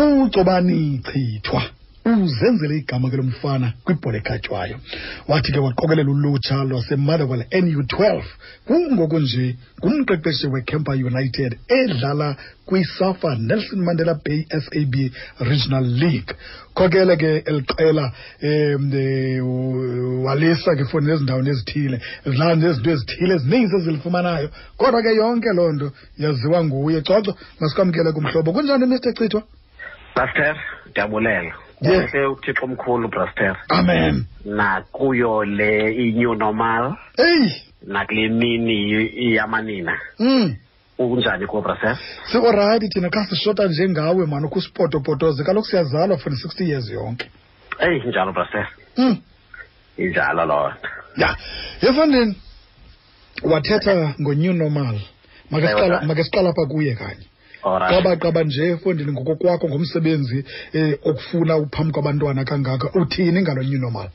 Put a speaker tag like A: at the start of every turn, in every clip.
A: ucobani chithwa uzenzele igama ke lomfana kwibhola ekhatywayo wathi ke waqokelela ulutsha lwasemotherwell nu12 kungoku nje ngumqeqeshi wecamper united edlala kwisafa nelson mandela bay sab regional league khokele ke eliqela um eh, u- walisa ke foni nezindaweni ezithile zidlala nezinto ezithile ezininzi ezilifumanayo kodwa ke yonke loo nto yaziwa nguye coco masikwamkele kumhlobo kunjani mr chithwa
B: Braster, ndiyabulela.
A: Yes.
B: Uhle uThixo omkhulu Braster.
A: amen
B: Nakuyo le i-new normal
A: eyi
B: nakule mini i- yamanina.
A: mm.
B: Unjani ko Braster?
A: sikorayithi thina xa sishota njengawe mani ukho usipotopotoze kaloku siyazalwa for ne-sixty years yonke
B: Ey, njalo Braster.
A: mm.
B: Injalo loo nto.
A: ya efandeni wathetha ngo-new normal Make siqala- make siqala apha kuye kanye
B: Alright.
A: qabaqaba nje efondini ngokokwakho ngomsebenzi um okufuna uphambi kwabantwana kangaka uthini ngalo new normal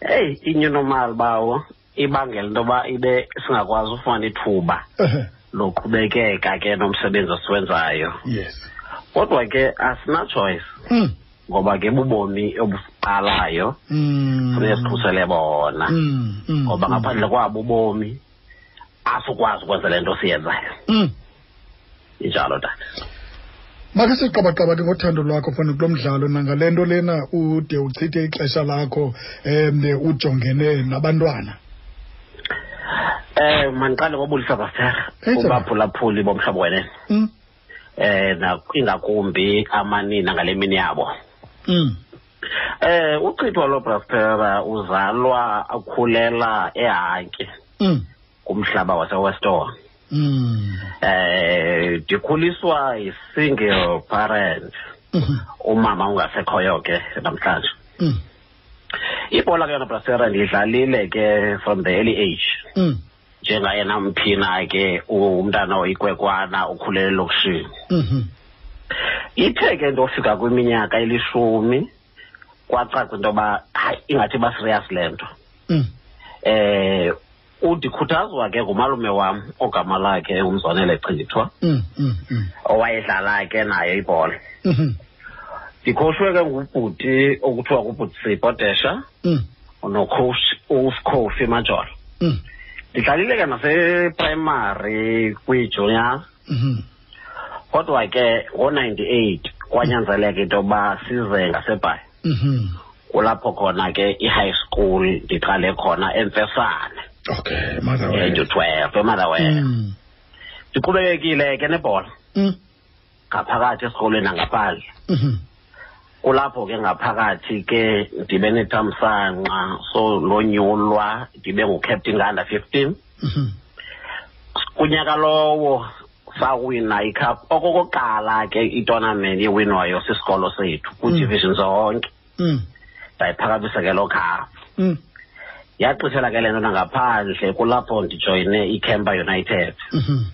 B: Ey, i-new normal bawo ibangela into yoba ibe singakwazi ufumana ithuba loqhubekeka ke nomsebenzi esiwenzayo.
A: yes
B: Kodwa ke asina choice
A: mm.
B: ngoba ke bubomi obusiqalayo
A: Mm.
B: funeka sikhusele bona.
A: Mm. Mm.
B: ngoba
A: Mm.
B: ngaphandle kwabo ubomi asukwazi ukwenza le nto siyenzayo
A: mm.
B: injalo tata
A: Make siqabaqaba ke ngothando lwakho fana kulo mdlalo nangale nto lena ude uchithe ixesha lakho um ujongene nabantwana.
B: um mandiqale ngobulisa basera
A: Hey, Thabo.
B: kubaphulaphuli bomhlobo wenene
A: Mm.
B: um ingakumbi amanina ngale mini yabo
A: Mm.
B: um uchithwa lobrastera uzalwa akhulela ehanki
A: Mm.
B: kumhlaba wasewestor
A: Mm.
B: um ndikhuliswa yi-single parent
A: Mhm.
B: umama ungasekhoyo ke namhlanje
A: Mm.
B: ibhola ke yona brastera ndiyidlalile ke from the early age
A: Mm.
B: njengaye namphina ke umntana oyikwekwana ukhulele elokishini
A: Mhm.
B: ithe ke ndofika kwiminyaka elishumi kwacaca into yoba hayi ingathi basiriyas le nto
A: Mm.
B: um udikhuthazwa ke ngumalume wam ogama lakhe umzonele chithwa
A: Mm. Mm. Mm.
B: owayedlala ke nayo ibhola
A: Mhm.
B: ndikhoshwe ke ngubhuti okuthiwa ngubhuti sipotesha
A: Mm.
B: nocoach usikhofi majolo
A: Mm.
B: ndidlalile ke naseprimary kwi-juniors
A: Mhm.
B: kodwa ke ngo-98 kwanyanzeleka into yoba size ngasebhayi
A: Mhm.
B: kulapho khona ke i-high school ndiqale khona emfesane
A: Okay, mother
B: eight
A: wethu.
B: twelve emotherwell
A: Mm.
B: ndiqhubekekile ke nebhola
A: Mm.
B: ngaphakathi esikolweni nangaphandle
A: Mhm.
B: kulapho ke ngaphakathi ke ndibe netamsanqa so lonyulwa ndibe ngucaptain ka-under fifteen
A: Mhm.
B: kunyaka lowo sawina icup okokuqala ke itournament yewinwayo sisikolo sethu kwidivision zonke
A: Mm.
B: ndayiphakamisa ke loo cup
A: Mm.
B: yagqithela ke le nto nangaphandle kulapho ndijoyine icamper united
A: Mhm.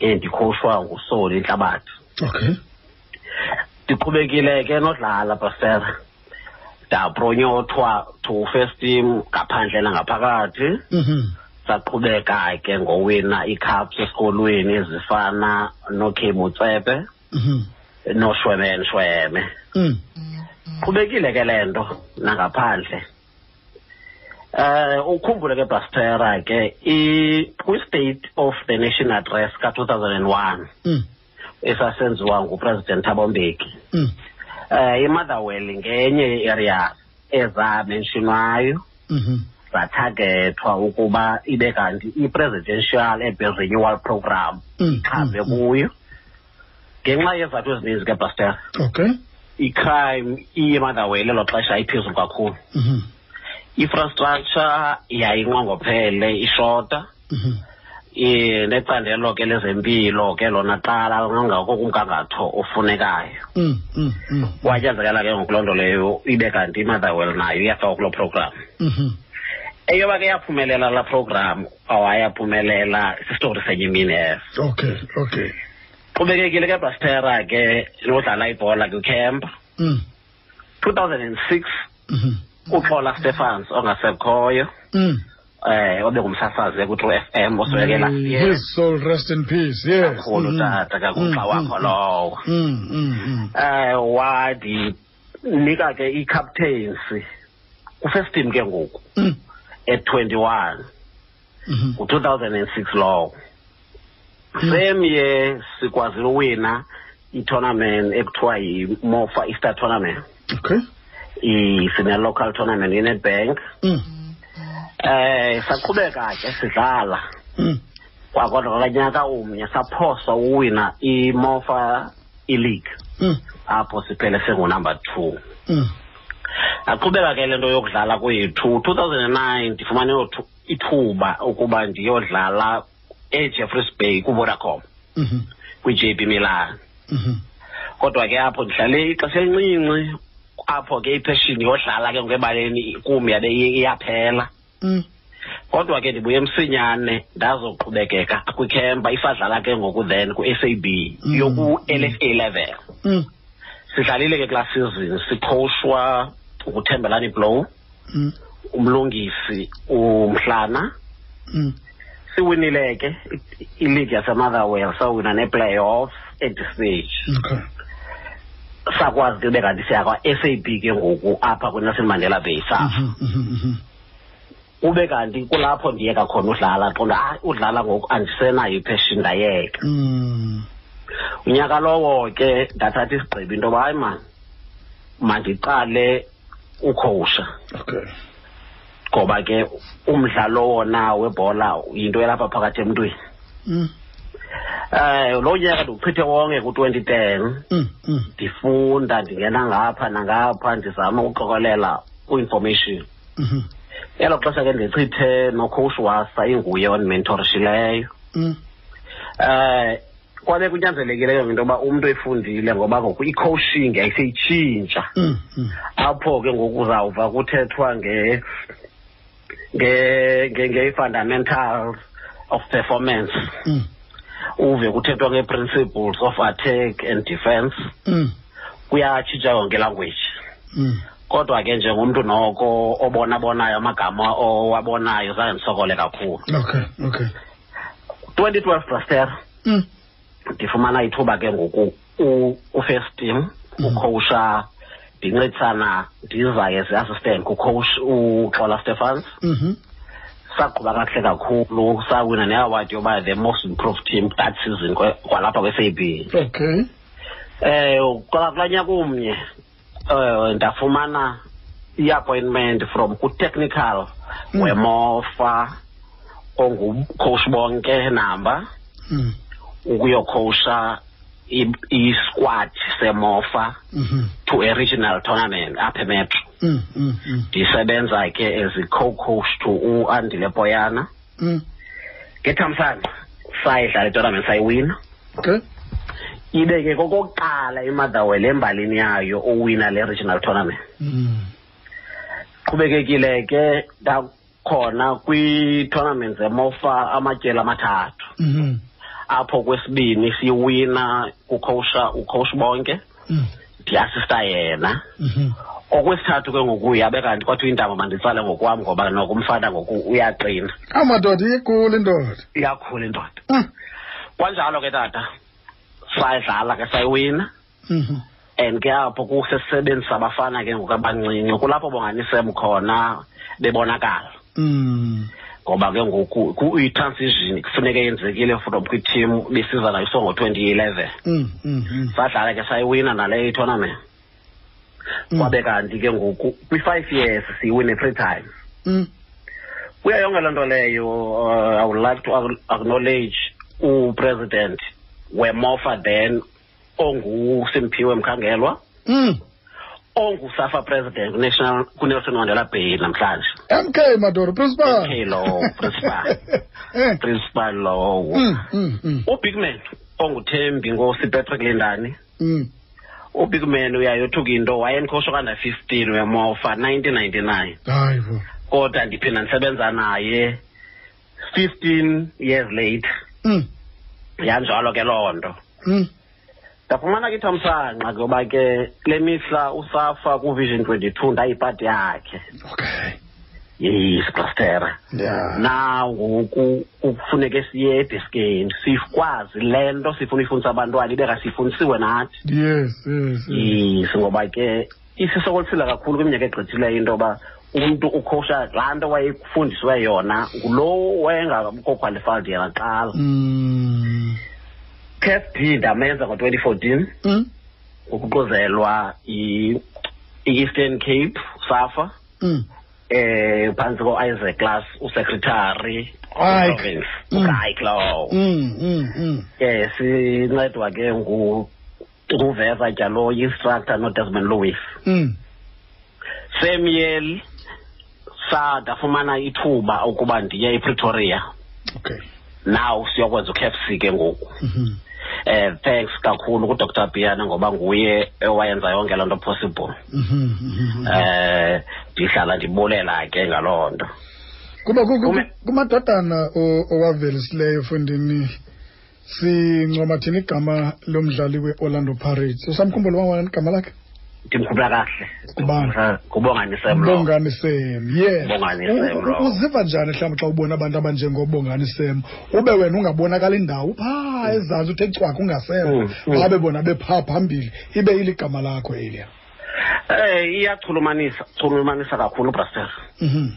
B: endikhutshwa ngusoli intlabathi
A: Okay.
B: ndiqhubekile ke nodlala brastera ndapronyotwa to first team ngaphandle nangaphakathi
A: Mhm.
B: saqhubeka ke ngowina iicups esikolweni ezifana nokhemutsepe
A: Mhm.
B: noshwemenshweme
A: Mm.
B: qhubekile ke le nto nangaphandle eh ukhumbule ke Bastera ke i kwi state of the nation address ka 2001
A: Mm.
B: esasenziwa ngupresident Thabo Mbeki
A: Mm.
B: eh iMotherwell ngenye area ezamentionwayo
A: Mhm.
B: zathagethwa ukuba ibe kanti i-presidential urban renewal program
A: Mm.
B: ichaze kuyo ngenxa yezathu ezininzi ke Bastera
A: Okay.
B: i-crime iye-motherwell elo xesha iphezulu kakhulu
A: Mhm.
B: infrastructure yayinqongophele ishota
A: Mhm.
B: eh, necandelo ke lezempilo ke lona qala ngangako kumgangatho ofunekayo
A: Mm. Mm. Mm.
B: kwanyanzekela ke ngokuloo nto leyo ibe kanti imotherwell nayo iyafakwa kulo program
A: Mhm.
B: eyoba ke yaphumelela la program awayaphumelela sistori senye imini eso
A: Okay. Okay.
B: qhubekekile ke brastera ke nodlala ibhola kwicamp
A: Mm.
B: 2006
A: Mhm. Mm-hmm.
B: uxola stephens ongasekhoyo
A: Mm.
B: Eh, eh obengumsasazi ku-true f m oswekela
A: his soul rest in peace yes
B: kakhulu
A: Mhm.
B: tata kakuxa
A: Mhm,
B: wakho
A: mhm.
B: lowo
A: Mm, mm, mm.
B: eh wandinika ke i-captaincy ku-first team ke ngoku
A: Mm,
B: at 21
A: mhm.
B: ngu-2006 lowo same year sikwazile uwina i-tournament ekuthiwa yi-mofa easter tournament
A: okay
B: i- sine-local tournament i-netbank
A: Mm,
B: eh saqhubeka ke sidlala
A: mm.
B: kwakodwa kwakanyaka umnye saphoswa uwina i-mofa i-league
A: Mm,
B: apho siphele sengunumber two
A: mm.
B: aqhubeka ke le nto yokudlala kwethu 2009 ndifumane othu- ithuba ukuba ndiyodlala ejeffreys bay kuvodacom
A: Mhm,
B: kwi-j b milan
A: mhm.
B: kodwa ke apho ndidlale ixesha elincinci apho ke ipeshini yodlala ke ngebaleni kum yabe iye- iyaphela
A: Mm,
B: kodwa ke ndibuye emsinyane ndazoqhubekeka kwikhempa isadlala ke ngoku then ku-sab
A: Mm.
B: yoku-lfa level
A: mm,
B: sidlalile ke kulaa season sikhoshwa nguthembelani blow
A: mm,
B: umlungisi umhlana
A: mm.
B: siwinile ke i- iligi yasemotherwell sawina neplayoff at stage
A: okay
B: sakwazi ke ube kanti siyakwa-sab ke ngoku apha kwinelson mandela bay sa
A: Mhm, mhm, mhm.
B: ube kanti kulapho ndiyeka khona udlala qonda hayi udlala ngoku andisenayo ipeshin ndayeka
A: Mm,
B: unyaka lowo ke ndathatha isigqibo into yoba hayi mani mandiqale ukhowusha
A: okay
B: ngoba ke umdlalo wona webhola yinto yalapha phakathi emntwini
A: Mm,
B: eh lo nyaka ndiwuchithe wonke ku-2010
A: mm, mm.
B: ndifunda ndingena ngapha nangapha ndizama ukuqokelela ku-information
A: Mhm,
B: elo xesha ke ndichithe nocoach wasa inguye ondimentorishileyo
A: mm.
B: eh kwabe kunyanzelekile ke ngento yoba umntu efundile ngoba ngoku i-coaching ayiseyitshintsha
A: Mm, mm.
B: apho ke ngoku uzawuva kuthethwa nge nge- nge- nge-fundamentals of performance
A: Mm,
B: uve kuthethwa nge-principles of attack and defense
A: mm,
B: kuyatshintsha yonke language
A: mm.
B: kodwa ke njengomntu noko obona bonayo amagama owabonayo zange ndisokole kakhulu
A: okay okay
B: 2012 braster
A: Mm,
B: ndifumana ithuba ke ngoku u- ufirst team
A: Mhm.
B: ucoacha ndincedisana ndiza ke zi-assistant kucoach uxola stephans
A: mhm.
B: saqhuba kakuhle kakhulu sawina ne-award yoba the most improved team that season kwe- kwalapha kwe-sab
A: okay
B: um kulaa nyaka umnye um ndafumana i-appointment from ku-technical
A: Mm.
B: wemofa ongucoach bonke namba
A: Mm,
B: ukuyokhowusha i- i-squad semofa
A: mhm.
B: to a regional tournament apha emetro
A: Mm, mm, mm,
B: ndisebenza ke as co-coach to uandile poyana
A: mm.
B: ngethamsanqa sayidlala itournament sayiwina
A: okay
B: ibe ke kokokuqala imotherwell embalini yayo owina le regional tournament
A: Mm,
B: qhubekekile ke ndakhona kwi-tournament zemofa amatyeli amathathu
A: mhm,
B: apho kwesibini siwina ucoacha ucoach bonke
A: mm,
B: ndiasista yena
A: mhm.
B: okwesithathu ke ngoku yabe kanti kwathiwa intaba manditsale ngokwam ngoba noko umfana ngoku uyaqina
A: amadoda iyikulu indoda
B: iyakhula indoda
A: Mm,
B: kwanjalo ke tata sadlala ke sayiwina
A: mhm.
B: and ke apho kusesisebenzisa abafana ke ngoku abancinci kulapho bonganisem khona bebonakala
A: Mm,
B: ngoba ke ngoku ku- i-transition kufuneka yenzekile from kwitim besiza nayo songo-twenty eleven
A: mm, mm, mm.
B: sadlala ke sayiwina naleyo itournament
A: Mm.
B: kwabe kanti ke ngoku kwi-five years siyiwine free time
A: Mm,
B: kuyo yonke loo nto leyo uh, i would like to ac- acknowledge upresident wemofa then ongusimphiwe mkhangelwa
A: mm.
B: ongusafa president national kunelson mandela bay namhlanje
A: mk madoda principal
B: MK lowo, principal.
A: Eh,
B: principal lowo
A: mm, mm, mm,
B: ubigman onguthembi ngosi patrick lindani
A: mm.
B: ubigman uyayothuka into wayenkhoso kanda-fifteen wemofa 1999
A: hayi bo
B: kodwa ndiphinda ndisebenza naye 15 years late
A: Mm,
B: yanjalo ke loo nto
A: mm.
B: ndafumana ke ithamsanqa ngoba ke le mihla usafa kuvision 22 ndayipati yakhe
A: okay
B: yisiplastera
A: ya
B: nangoku kufuneke siye ediskeni sikwazi le nto sifuna ifundisa abantwana ibe kasiyifundisiwe nathi
A: yes yes yes.
B: yisi ngoba ke isisokolisile kakhulu kwiminyaka egqithileyo into yoba umntu ukhosha laa nto wayefundiswe yona ngulowo wayengakho qualified yena qala
A: Mm.
B: kfd ndamenza ngo-twenty fourteen
A: Mm.
B: ukuquzelwa i-eastern cape safa
A: Mm.
B: eh phantsi ko-isaac class usecretary
A: Ike.
B: province
A: Mm.
B: ike lowo
A: Mm. Mm. Mm.
B: eh sincedwa ke ngu nguveza tyalo instructor nodesmond lewis
A: Mm.
B: samuel sa ndafumana ithuba ukuba ndiye epretoria
A: okay
B: now siyokwenza ukfc ke ngoku
A: Mhm.
B: eh thanks kakhulu kudr piana ngoba nguye owayenza yonke loo nto possible
A: Mhm, mhm.
B: eh ndihlala ndibulela ke ngaloo nto
A: kuba ku- ku-
B: kume-
A: kumatatana o- owavelisileyo efundini sincoma thina igama lomdlali we-orlando pirates usamkhumbula wangwana igama lakhe
B: ndimkhumbula kahle
A: Kubani?
B: Ndimkhumbula- ngubongani semlo
A: bongani sem yes
B: Bongani
A: U-
B: Sam,
A: u-
B: lowo.
A: uziva njani mhlawumbi xa ubona abantu abanjengobongani sem ube wena ungabonakali ndawo
B: Hmm.
A: phaa ezantsi uthe cwaka ungaseva
B: Mm, mm.
A: babe bona bephaa phambili ibe iligama lakho eliya
B: eh iyachulumanisa chulumanisa kakhulu braster
A: Mhm.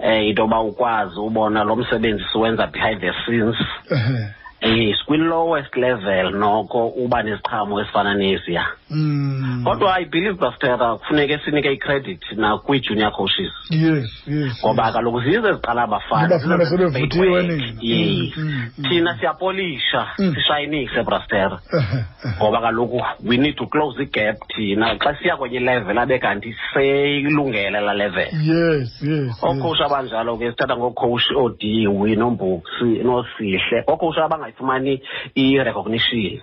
B: eh into yoba ukwazi ubona lo msebenzi siwenza behind the scenes
A: Ehhe.
B: eh kwi-lowest level noko uba neziqhamo ezifana neziya
A: Mm.
B: kodwa i believe bastera kufuneke sinike icredit nakwi-junior coaches
A: yes yes
B: ngoba
A: yes.
B: kaloku zizo eziqala abafana
A: Nibafumane
B: zizo ezenza
A: sebevuthiwe
B: i-work.
A: nina.
B: Yes.
A: Mm, mm, mm.
B: thina siyapolisha
A: Mm.
B: sishayinise brastera
A: Ehhe, ehhe.
B: ngoba kaloku we need to close igap thina xa siya kwenye level abe kanti seyilungele la
A: Mm.
B: level
A: yes yes yes.
B: okhosha abanjalo ke sithatha ngoocoach odiwi nombuksi nosihle okhosha abangayifumani i-recognition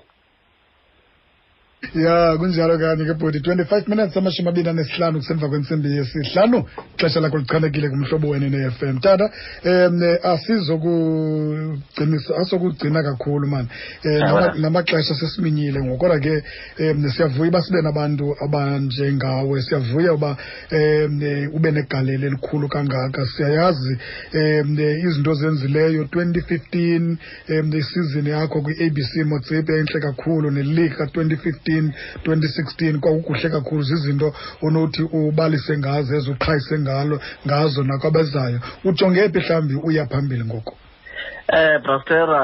A: ya kunjalo kanye ke bhuti 25 minutes amashumi abini anesihlanu kusemva kwentsimbi yesihlanu ixesha lakho lichanekile kumhlobo wene ne-fm tata um asizokugcinisa asokugcina kakhulu mani um
B: Ewe.
A: namaxesha sesiminyile ngoku kodwa ke um siyavuya uba sibe nabantu abanjengawe siyavuya uba um ube negalelo elikhulu kangaka siyayazi um izinto ozenzileyo 2015 um isizini yakho kwi-abc motsepe entle kakhulu neleague ka-2015 2016 kwakukuhle kakhulu zizinto onothi ubalise ngazo ezo uqhayise ngalo ngazo nakwabezayo ujonge phi mhlawumbi uya phambili ngoko
B: eh brastera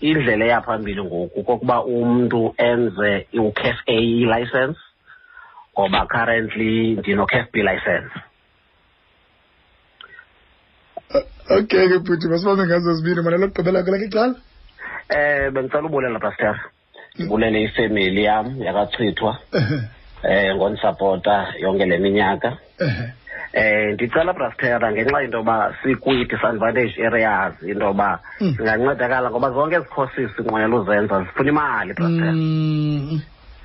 B: indlela eyaphambili ngoku kokuba umntu enze u-caf a license ngoba currently ndino-caf b license
A: okay ke bhuti masibambe ngazo zibini mana lokugqibela kwelakho icala
B: eh bengicela ubulela brastera ndibulele ifemeli yam yakachithwa
A: Ehe,
B: eh ngonisapota yonke le minyaka
A: ehe.
B: eh ndicela brastera ngenxa into yoba sikwi-disadvantage areas into yoba
A: Mm.
B: singancedakala ngoba zonke ezi courses sinqwenela uzenza zifuna imali brastera
A: Mm,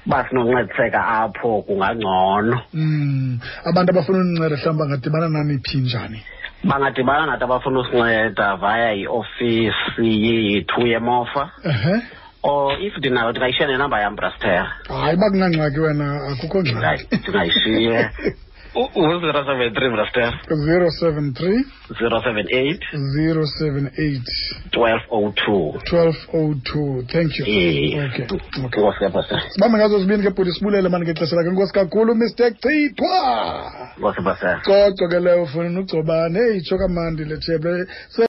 B: uba sinoncediseka apho kungangcono
A: mm. abantu abafuna uninceda mhlawumbi bangadibana naniphi njani
B: bangadibana nathi abafuna usinceda via iofisi yethu yemofa
A: ehe
B: or if ndinayo ndingayishiya nenamba yam brastera
A: hayi uba kunangxaki wena akukho ngxaki
B: ndingayishiye u-zero seven three brastera
A: 073
B: zero seven eight
A: 078
B: twelve oh two
A: 1202 thank you
B: eh
A: okay okay
B: inkosi kabrastera
A: sibambe ngazo zibini ke bhuti sibulele mani ngexesha lakhe nkosi kakhulu mr chithwa
B: inkosi brastera
A: coco ke leyo ufuna ugcobane itsho kamandi le tshebe Se-